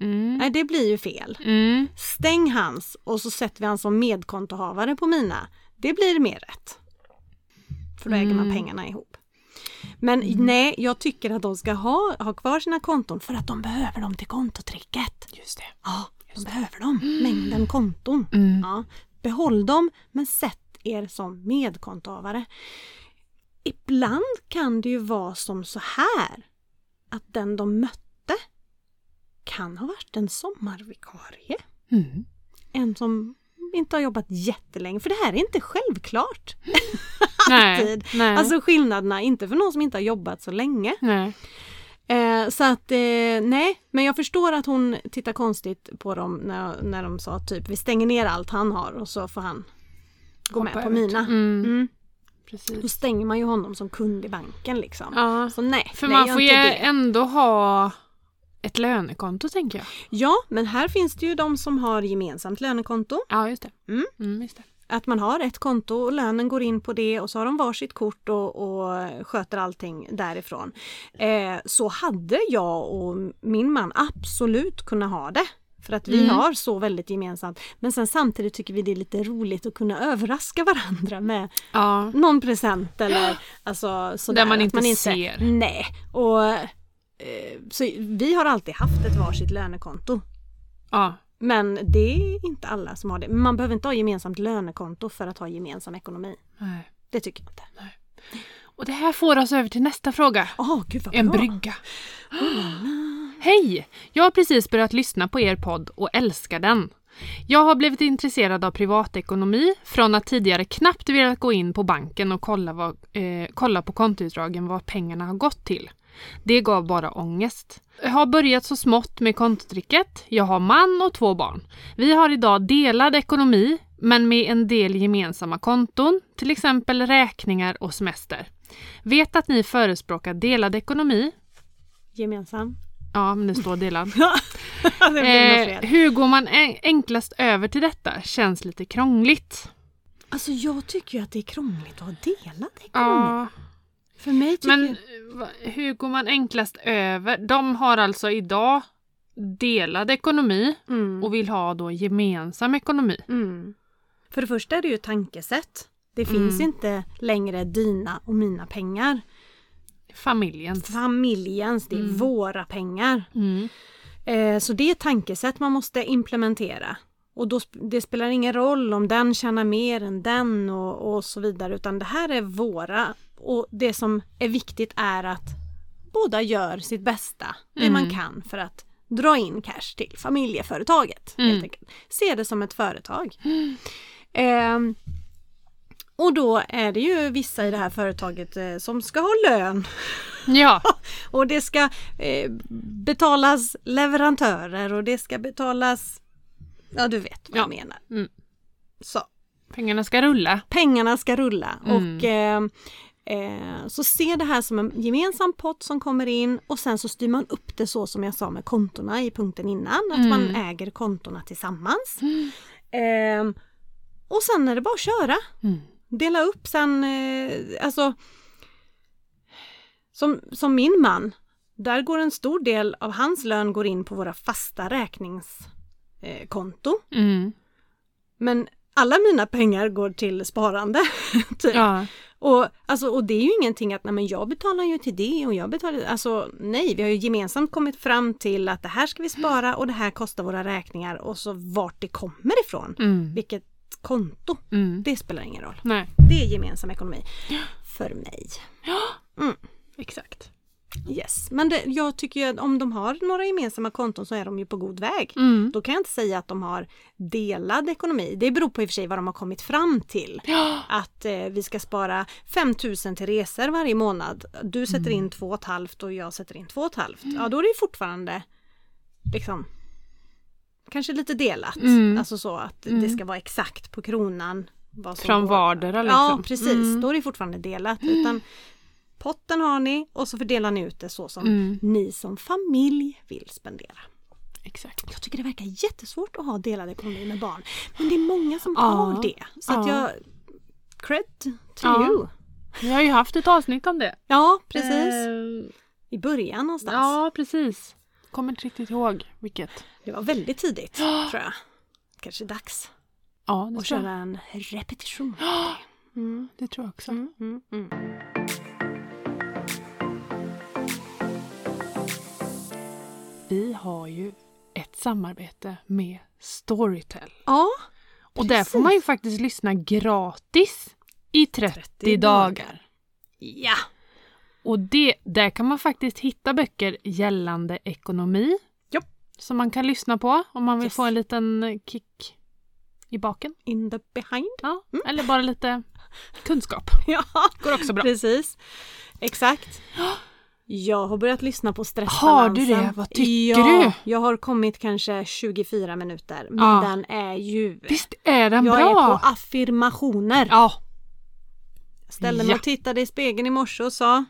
Mm. Nej, det blir ju fel. Mm. Stäng hans och så sätter vi han som medkontohavare på mina. Det blir mer rätt. För då äger Mm. man pengarna ihop. Men nej, jag tycker att de ska ha, ha kvar sina konton för att de behöver dem till kontotricket. Just det. Ja, de behöver dem. Mängden konton. Mm. Ja, behåll dem men sätt er som medkontohavare. Ibland kan det ju vara som så här att den de mötte kan ha varit en sommarvikarie. Mm. En som inte har jobbat jättelänge, för det här är inte självklart. Alltså Nej. Alltid. Nej. Alltså skillnaderna, inte för någon som inte har jobbat så länge. Nej. Eh, så att eh, nej, men jag förstår att hon tittar konstigt på dem när, när de sa typ vi stänger ner allt han har och så får han gå med Hoppa på ut. mina. Mm, Mm. Precis. Då stänger man ju honom som kund i banken liksom. Ja. Så nej, För nej, man gör får ju inte det. ändå ha ett lönekonto tänker jag. Ja, men här finns det ju de som har gemensamt lönekonto. Ja, just det. Mm. just det. Att man har ett konto och lönen går in på det och så har de varsitt kort och, och sköter allting därifrån. Eh, så hade jag och min man absolut kunnat ha det. För att vi Mm. har så väldigt gemensamt. Men sen samtidigt tycker vi det är lite roligt att kunna överraska varandra med Ja. någon present eller alltså sådär. Där man att inte ser. Nej. Och, eh, så vi har alltid haft ett varsitt lönekonto. ja. Men det är inte alla som har det. Man behöver inte ha gemensamt lönekonto för att ha gemensam ekonomi. Nej. Det tycker jag inte. Och det här får oss över till nästa fråga. Åh, gud vad En bra! brygga. Hej! Jag har precis börjat lyssna på er podd och älskar den. Jag har blivit intresserad av privatekonomi från att tidigare knappt velat gå in på banken och kolla, vad, eh, kolla på kontoutdragen vad pengarna har gått till. Det gav bara ångest. Jag har börjat så smått med kontotricket. Jag har man och två barn. Vi har idag delad ekonomi, men med en del gemensamma konton, till exempel räkningar och semester. Vet att ni förespråkar delad ekonomi. Gemensam. Ja, men det står delad. det blev nog Eh, fel. hur går man en- enklast över till detta? Känns lite krångligt. Alltså jag tycker ju att det är krångligt att ha delad ekonomi. Ja, För mig tycker Mm. men jag... eh, va- hur går man enklast över? De har alltså idag delad ekonomi Mm. och vill ha då gemensam ekonomi. Mm. För det första är det ju ett tankesätt. Det Mm. finns inte längre dina och mina pengar. Familjens. alltså, Familjens, det är våra pengar. Mm. Eh, så det är ett tankesätt man måste implementera. Och då, sp- det spelar ingen roll om den tjänar mer än den och, och så vidare utan det här är våra. Och det som är viktigt är att båda gör sitt bästa, det man kan för att dra in cash till familjeföretaget. Helt enkelt. Se det som ett företag. Ehm, och då är det ju vissa i det här företaget eh, som ska ha lön Ja, och det ska eh, betalas leverantörer och det ska betalas... Ja, du vet vad jag menar. Mm. Så, pengarna ska rulla. pengarna ska rulla och eh, eh, så se det här som en gemensam pott som kommer in och sen så styr man upp det så som jag sa med kontona i punkten innan. Att man äger kontona tillsammans. Ehm, och sen är det bara att köra. Mm. Dela upp sen, eh, alltså som, som min man, där går en stor del av hans lön går in på våra fasta räkningskonto. Eh, konto. Mm. men alla mina pengar går till sparande. typ. Ja. och, alltså, och det är ju ingenting att nej, men jag betalar ju till det och jag betalar... Alltså nej, vi har ju gemensamt kommit fram till att det här ska vi spara och det här kostar våra räkningar och så vart det kommer ifrån. Mm. Vilket konto, Mm. det spelar ingen roll. Nej, Det är gemensam ekonomi. För mig. Mm. exakt. Yes. Men det, jag tycker ju att om de har några gemensamma konton så är de ju på god väg. Mm. Då kan jag inte säga att de har delad ekonomi. Det beror på i och för sig vad de har kommit fram till. Ja. Att eh, vi ska spara 5 000 till resor varje månad. Du sätter Mm. in 2 halvt och jag sätter in 2 halvt. Ja, då är det ju fortfarande liksom kanske lite delat. Mm. Alltså så att det ska vara exakt på kronan. vad som Från går. vardera liksom. Mm. Ja precis, då är det fortfarande delat. Utan potten har ni och så fördelar ni ut det så som Mm. ni som familj vill spendera. Exakt. Jag tycker det verkar jättesvårt att ha delad ekonomi med barn. Men det är många som Ja. har det. Så att Ja. jag... Cred to Ja. you! Vi har ju haft ett avsnitt om det. Ja, precis. Eh, I början någonstans. Ja, precis. Kommer inte riktigt ihåg vilket. Det var väldigt tidigt tror jag. Kanske dags Ja, det att tror köra jag. en repetition. Det tror jag också. Mm, mm. Vi har ju ett samarbete med Storytel. Ja, Och där får man ju faktiskt lyssna gratis i 30, 30 dagar. dagar. ja. Och det, där kan man faktiskt hitta böcker gällande ekonomi. Japp. Som man kan lyssna på om man vill Yes. få en liten kick i baken. In the behind. Ja. Eller bara lite kunskap. Ja, Går också bra. precis. Exakt. Jag har börjat lyssna på stressbalansen. Har du det? Vad tycker ja, du? Jag har kommit kanske 24 minuter. Men Ja. den är ju... Visst är den jag bra? är på affirmationer. Ja, Ställde mig Ja. och tittade i spegeln i morse och sa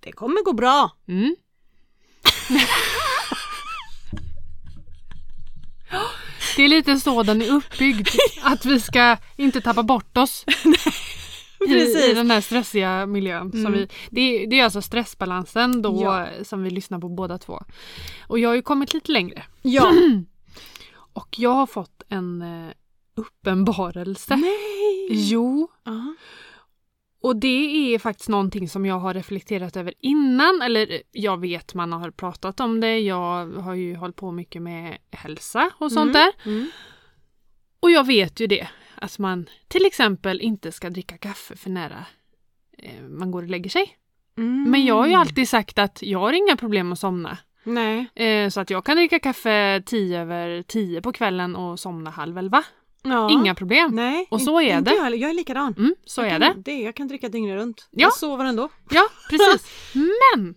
Det kommer gå bra. Mm. Det är lite så den är uppbyggd, att vi ska inte tappa bort oss i, i Precis. Mm. den här stressiga miljön. Som vi, det, är- det är alltså stressbalansen då Ja. som vi lyssnar på båda två. Och jag har ju kommit lite längre Ja. och jag har fått en eh, uppenbarelse. Mm. Nej. Jo, Ja. Och det är faktiskt någonting som jag har reflekterat över innan, eller jag vet man har pratat om det, jag har ju hållit på mycket med hälsa och sånt där. Mm. Och jag vet ju det, att man till exempel inte ska dricka kaffe för nära eh, man går och lägger sig. Mm. Men jag har ju alltid sagt att jag har inga problem att somna. Nej. Eh, så att jag kan dricka kaffe tio över tio på kvällen och somna halv elva. Ja. Inga problem. Nej. Och så inte- är inte det. Jag, heller. jag är likadan. Mm, så jag är det. kan, det. Jag kan dricka dygnet runt. Ja. Jag sover ändå. Ja, precis. Men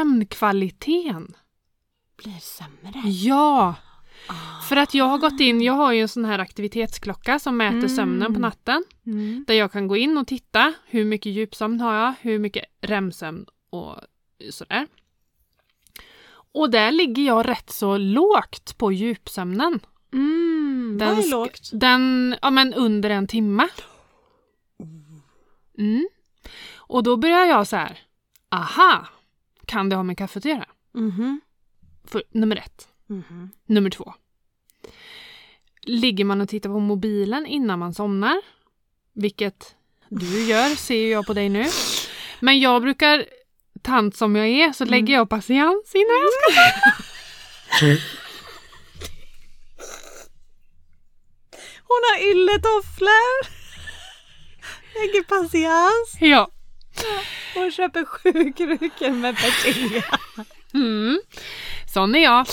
sömnkvaliteten. Blir sämre. Ja! Ah, För att jag har gått in, jag har ju en sån här aktivitetsklocka som mäter Mm. sömnen på natten. Mm. Där jag kan gå in och titta, hur mycket djupsömn har jag, hur mycket REM-sömn och sådär. Och där ligger jag rätt så lågt på djupsömnen. Mm. Vad är sk- lågt? Den, ja men under en timme. Oh. Mm. Och då börjar jag så här, aha, kan det ha med kaffet att göra? Mhm. För, nummer ett. Mhm. Nummer två. Ligger man och tittar på mobilen innan man somnar, vilket du gör ser ju jag på dig nu. Men jag brukar, tant som jag är, så lägger jag patiens innan jag ska Hon har ylletofflor! Lägger patiens Ja. och köper sju krukor med persilja. Mm. Sån är jag.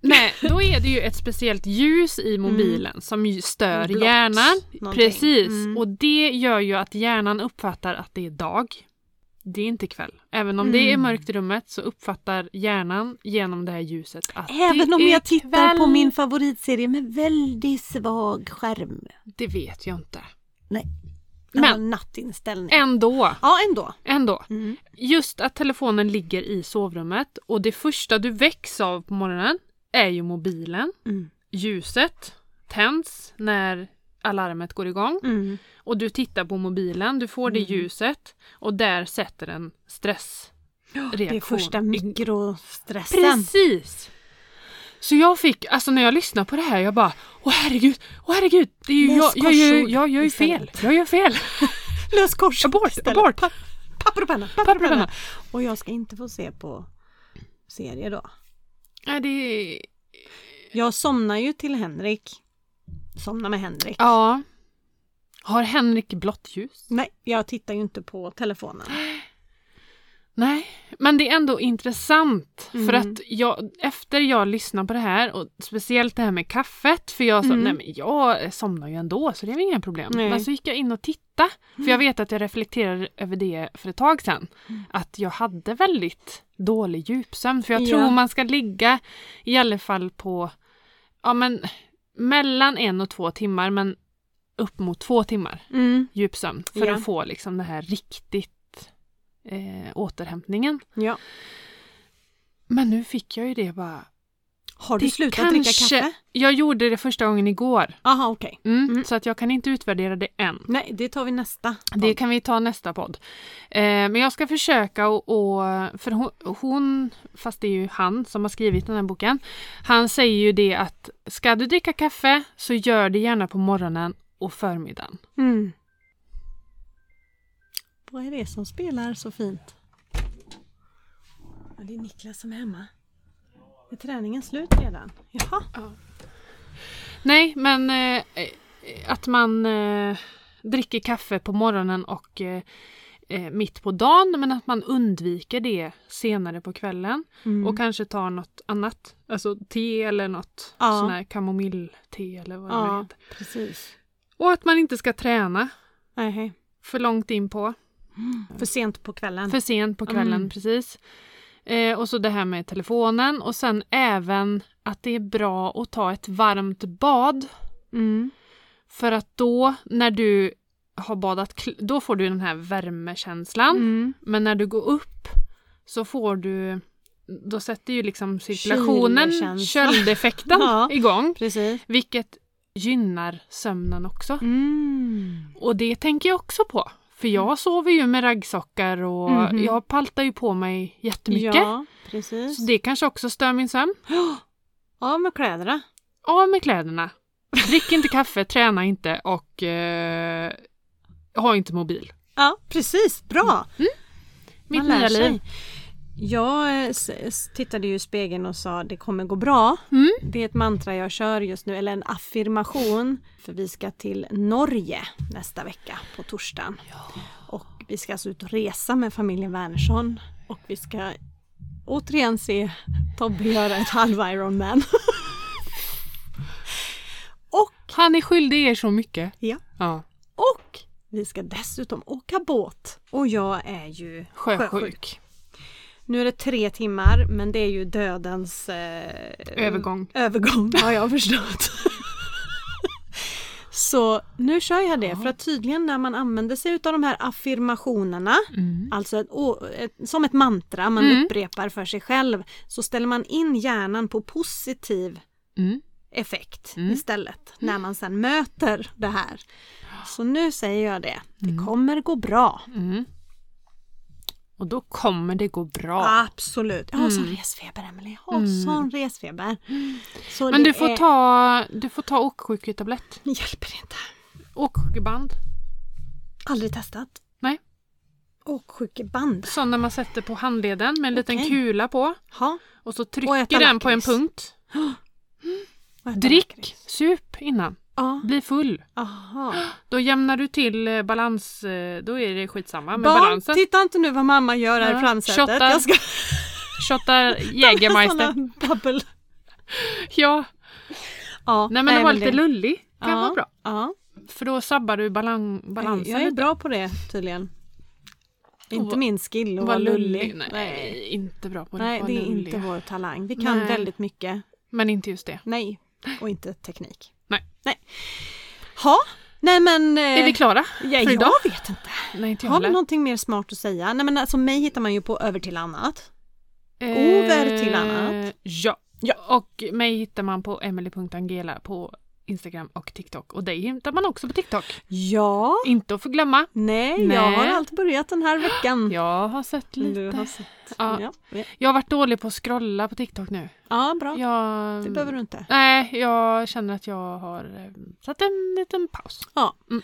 Nej, då är det ju ett speciellt ljus i mobilen som ju stör Blått hjärnan. Mm. någonting. Precis, Mm. och det gör ju att hjärnan uppfattar att det är dag. Det är inte kväll. Även om det är Mm. mörkt i rummet så uppfattar hjärnan genom det här ljuset att Även det om är jag tittar kväll. på min favoritserie med väldigt svag skärm. Det vet jag inte. Nej. Jag har Men nattinställning. ändå, Ja, ändå. ändå. Mm. Just att telefonen ligger i sovrummet och det första du väcks av på morgonen är ju mobilen. Mm. ljuset tänds när alarmet går igång Mm. och du tittar på mobilen, du får det ljuset och där sätter den stressreaktion. Det är första mikrostressen. Precis! Så jag fick, alltså när jag lyssnade på det här, jag bara Åh herregud, åh herregud! Det är ju, Läs jag, jag, gör ju- korsord jag gör ju fel, istället. jag gör fel! Lös kors. Abort, istället. abort! Papper och penna. Papper och penna. Och jag ska inte få se på serier då. Nej, det är... Jag somnar ju till Henrik. Somnar med Henrik. Ja. Har Henrik blått ljus? Nej, jag tittar ju inte på telefonen. Nej, men det är ändå intressant. För Mm. att jag, efter jag lyssnade på det här, och speciellt det här med kaffet, för jag sa Mm. nej men jag somnar ju ändå så det är väl inga problem. Nej. Mm. Men så gick jag in och tittade, för jag vet att jag reflekterade över det för ett tag sedan. Att jag hade väldigt dålig djupsömn, för jag Ja. tror man ska ligga i alla fall på, ja men mellan en och två timmar, men upp mot två timmar Mm. djupsömn för Ja. att få liksom det här riktigt eh, återhämtningen. Ja. Men nu fick jag ju det bara. Har Det du slutat dricka kanske- kaffe? Jag gjorde det första gången igår. Jaha, okej. Mm, Mm. Så att jag kan inte utvärdera det än. Nej, det tar vi nästa. Det kan vi ta nästa podd. Eh, men jag ska försöka och, och för hon, hon, fast det är ju han som har skrivit den här boken, han säger ju det att ska du dricka kaffe så gör det gärna på morgonen och förmiddagen. Mm. Vad är det som spelar så fint? Ja, det är Niklas som är hemma. Är träningen slut redan? Jaha. Nej, men eh, att man eh, dricker kaffe på morgonen och eh, eh, mitt på dagen men att man undviker det senare på kvällen Mm. och kanske tar något annat. Alltså te eller något Ja. sån här kamomillte eller vad det nu ja, heter. precis. Och att man inte ska träna Nej, hej. för långt in på. För sent på kvällen. För sent på kvällen, Mm. precis. Eh, och så det här med telefonen och sen även att det är bra att ta ett varmt bad. Mm. För att då när du har badat, kl- då får du den här värmekänslan. Mm. Men när du går upp så får du, då sätter ju liksom cirkulationen, Kylkänsla. köldeffekten Ja. igång. Precis. Vilket gynnar sömnen också. Mm. Och det tänker jag också på. För jag sover ju med raggsockar och Mhm. jag paltar ju på mig jättemycket. Ja, precis. Så det kanske också stör min sömn. Ja, med kläderna. Av med kläderna. Drick inte kaffe, träna inte och eh, ha inte mobil. Ja, precis. Bra! Mm. Mitt Man lär nya sig. liv. Jag eh, s- s- tittade ju i spegeln och sa det kommer gå bra. Mm. Det är ett mantra jag kör just nu, eller en affirmation. För vi ska till Norge nästa vecka på torsdagen. Och vi ska alltså ut och resa med familjen Wernersson. Och vi ska återigen se Tobbe göra ett halv Ironman. och, Han är skyldig er så mycket. ja, Ja. och vi ska dessutom åka båt. Och jag är ju Sjösjuk. nu är det tre timmar men det är ju dödens eh, Övergång. övergång har jag förstått. Så nu kör jag det för att tydligen när man använder sig av de här affirmationerna, alltså ett, å- ett, som ett mantra man Mm. upprepar för sig själv, så ställer man in hjärnan på positiv Mm. effekt Mm. istället när man sen möter det här. Så nu säger jag det, det kommer gå bra. Mm. Och då kommer det gå bra. Absolut. Jag har Mm. sån resfeber Emelie. Jag har sån resfeber. Så Men det du får, är- ta, du får ta åksjuketablett. Det hjälper inte. Åksjukeband. Aldrig testat. Nej. Åksjukeband. Sån när man sätter på handleden med en liten Okej. kula på. Ja. Och så Och trycker äta den på en lakrits. punkt. och äta Drick, lakrits. sup innan. Ja. Bli full. Aha. Då jämnar du till eh, balans, eh, då är det skitsamma med Barn, balansen. titta inte nu vad mamma gör här i Ja, framsätet. shottar. Jag ska Shottar Jägermeister. såna babbel. Ja, Ja. nej men att vara det- lite lullig kan ja. vara bra. Ja. För då sabbar du balan, balansen Jag är lite. bra på det tydligen. Inte vad- min skill att vara lullig. Nej, inte bra på det. Nej, Var det är lullig. inte vår talang. Vi kan Nej. väldigt mycket. Men inte just det. Nej, och inte teknik. Nej. Nej. Ha, nej men... eh, Är vi klara? ja, för idag? Jag vet inte. Nej, inte jag Har vi heller. någonting mer smart att säga? Nej men alltså mig hittar man ju på över till annat. Eh, Over till annat. Ja. Ja. Och mig hittar man på emily.angela på Instagram och TikTok. Och dig hittar man också på TikTok. Ja. Inte att förglömma. Nej, jag har Nej. allt börjat den här veckan. Jag har sett Men lite. Du har sett. Ja. Ja. Ja. Jag har varit dålig på att scrolla på TikTok nu. bra. Jag... Det behöver du inte. Nej, jag känner att jag har eh, satt en liten paus. Ja. Mm.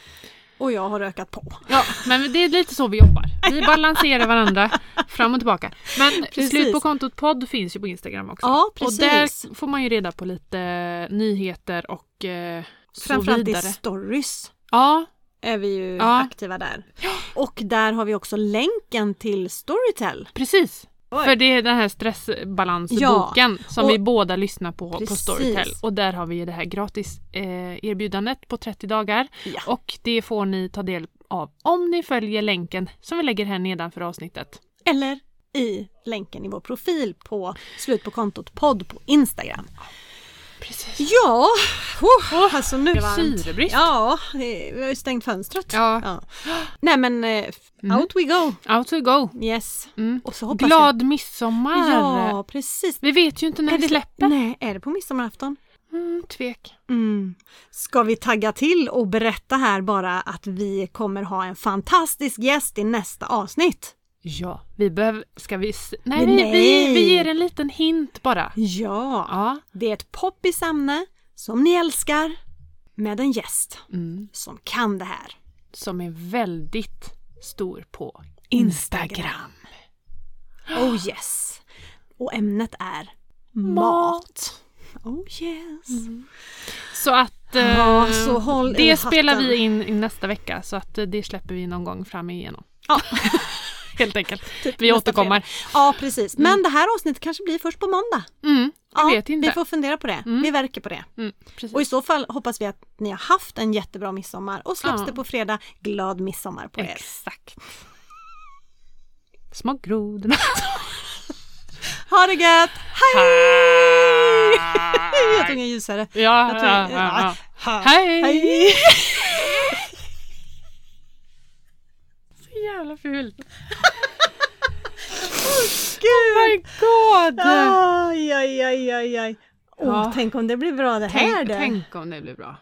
Och jag har ökat på. Ja, men det är lite så vi jobbar. Vi balanserar varandra fram och tillbaka. Men Precis. Slut på kontot podd finns ju på Instagram också. Ja, Och precis. där får man ju reda på lite eh, nyheter och eh, så Framförallt i vidare. stories Ja, är vi ju Ja. aktiva där. Och där har vi också länken till Storytel. precis. Oj. För det är den här stressbalansboken som och- vi båda lyssnar på på Precis. Storytel. Och där har vi ju det här gratis eh, erbjudandet på 30 dagar. Ja. Och det får ni ta del av om ni följer länken som vi lägger här nedanför avsnittet. Eller i länken i vår profil på Slut på kontot podd på Instagram. Precis. Ja, oh, alltså nu är det varmt. Syrebrist. Ja, det- vi har ju stängt fönstret. Ja. Nej men eh, out we go. Out we go. Yes. Mm. Och så hoppas Glad midsommar! jag... Ja, precis. Vi vet ju inte när vi släpper. Nej, är det på midsommarafton? Mm, tvek. Mm. Ska vi tagga till och berätta här bara att vi kommer ha en fantastisk gäst i nästa avsnitt? Ja, vi behöver... Ska vi... s- Nej, Men vi, vi, nej. vi ger en liten hint bara. Ja, Ja. det är ett poppis ämne som ni älskar med en gäst Mm. som kan det här. Som är väldigt stor på Instagram. Instagram. Oh yes! Och ämnet är mat. Oh yes! Mm. Så att... eh, Ja, så håll i det hatten. spelar vi in i nästa vecka så att eh, det släpper vi någon gång fram igenom. Ja. Helt enkelt. Typ vi nästa återkommer. fredag. Ja, precis. Men det här avsnittet kanske blir först på måndag. Mm, vi Ja, vet inte. Vi får fundera på det. Vi verkar på det. Mm, precis. Och i så fall hoppas vi att ni har haft en jättebra midsommar och släpps Ja. det på fredag. Glad midsommar på er! Exakt. små grodorna. Ha det gött! Hej! Jag tog en ljusare. ja, Jag tog, ja, ja, Ha. ja. Hej! Hej! Så jävla fult. Gud! My God! Aj, aj, aj, aj, aj. Åh, Ja. Tänk om det blir bra det här Tänk, du. tänk om det blir bra.